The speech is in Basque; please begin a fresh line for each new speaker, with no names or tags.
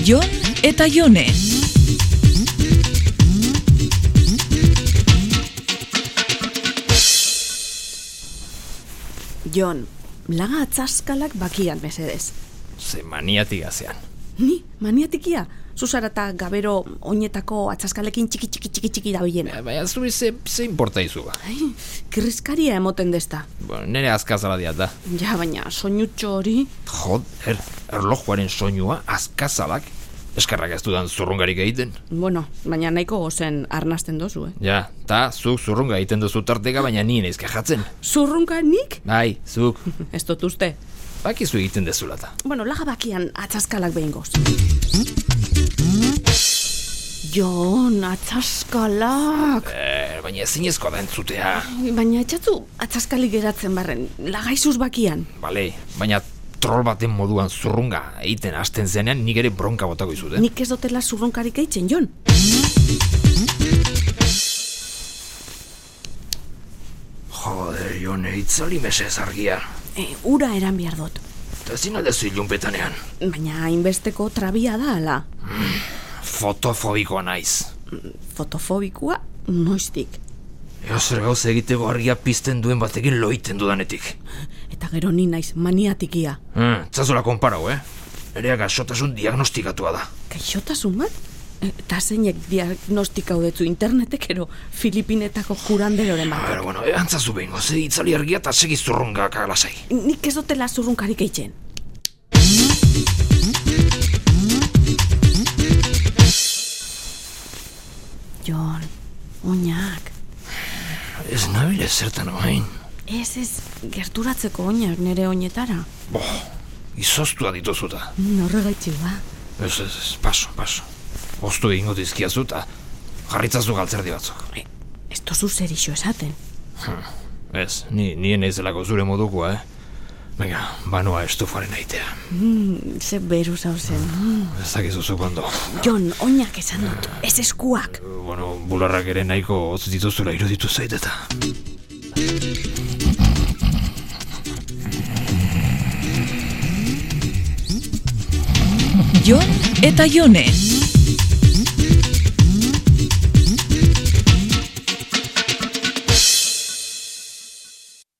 Aion eta Jone.
Jon, laga atzaskalak bakian mesedez.
Ze maniatia zean.
Ni, maniatikia, zuzara eta gabero oinetako atzaskalekin txiki txiki txiki txiki da bilena.
Eh, Baina zuri ze, ze importa izu ba.
Ai, kriskaria emoten desta.
Bueno, nere azkazala diat da.
Ja, baina, soinutxo hori,
Joder, erlojuaren soinua azkazalak. Eskerrak ez dudan zurrungarik egiten.
bueno, baina nahiko gozen arnasten dozu, eh?
Ja, ta zuk zurrunga egiten duzu tarteka, baina ni naiz jatzen.
Zurrunka nik?
Bai, zuk,
Ez dut uste.
bakizu egiten dezula eta.
Bueno, laga bakian atzaskalak behin goz. Jon, atzaskalak!
Er, baina ezinezkoa da entzutea.
Baina etxatzu atzaskalik geratzen barren, lagaizuz bakian.
Bale, baina troll baten moduan zurrunga egiten hasten zenean nik ere bronka botako izut, eh?
Nik ez dotela zurronkarik eitzen, Jon.
Joder, jone, itzali mesez argia.
E, ura eran behar dut.
Eta ezin aldezu ilunpetanean.
Baina hainbesteko trabia da, ala.
Fotofobikoa naiz.
Fotofobikoa, noiztik.
Eo zer gauz egiteko argia pizten duen batekin loiten dudanetik.
Eta gero ni naiz maniatikia.
Hmm, tzazola konparau, eh? Nerea gaxotasun diagnostikatua da.
Kaixotasun bat? Eh, Eta zeinek diagnostika udetzu internetekero Filipinetako kuranderoren bat.
Pero bueno, eantzazu behingo, ze itzali argia eta segi zurrunga kagalasai.
Nik ez dotela zurrunkarik eitzen. Jon, oinak.
Ez nabil ez zertan oain.
Ez ez, gerturatzeko oinak nere oinetara.
Bo, izoztua dituzuta.
Horregaitxi ba.
Ez, ez, ez, paso, paso. Oztu egingo dizkiazu eta jarritzazu galtzerdi batzuk.
E, ez tozu zer iso esaten.
Ez, ni, nien eizelako zure modukoa, eh? Venga, banoa estufaren aitea.
Mm, ze beru zauzen. Mm.
Ez dakizu zuk ondo.
Jon, oinak esan dut, ez eskuak.
Bueno, bularrak ere nahiko hotz dituzula iruditu zait eta.
Jon eta Jone.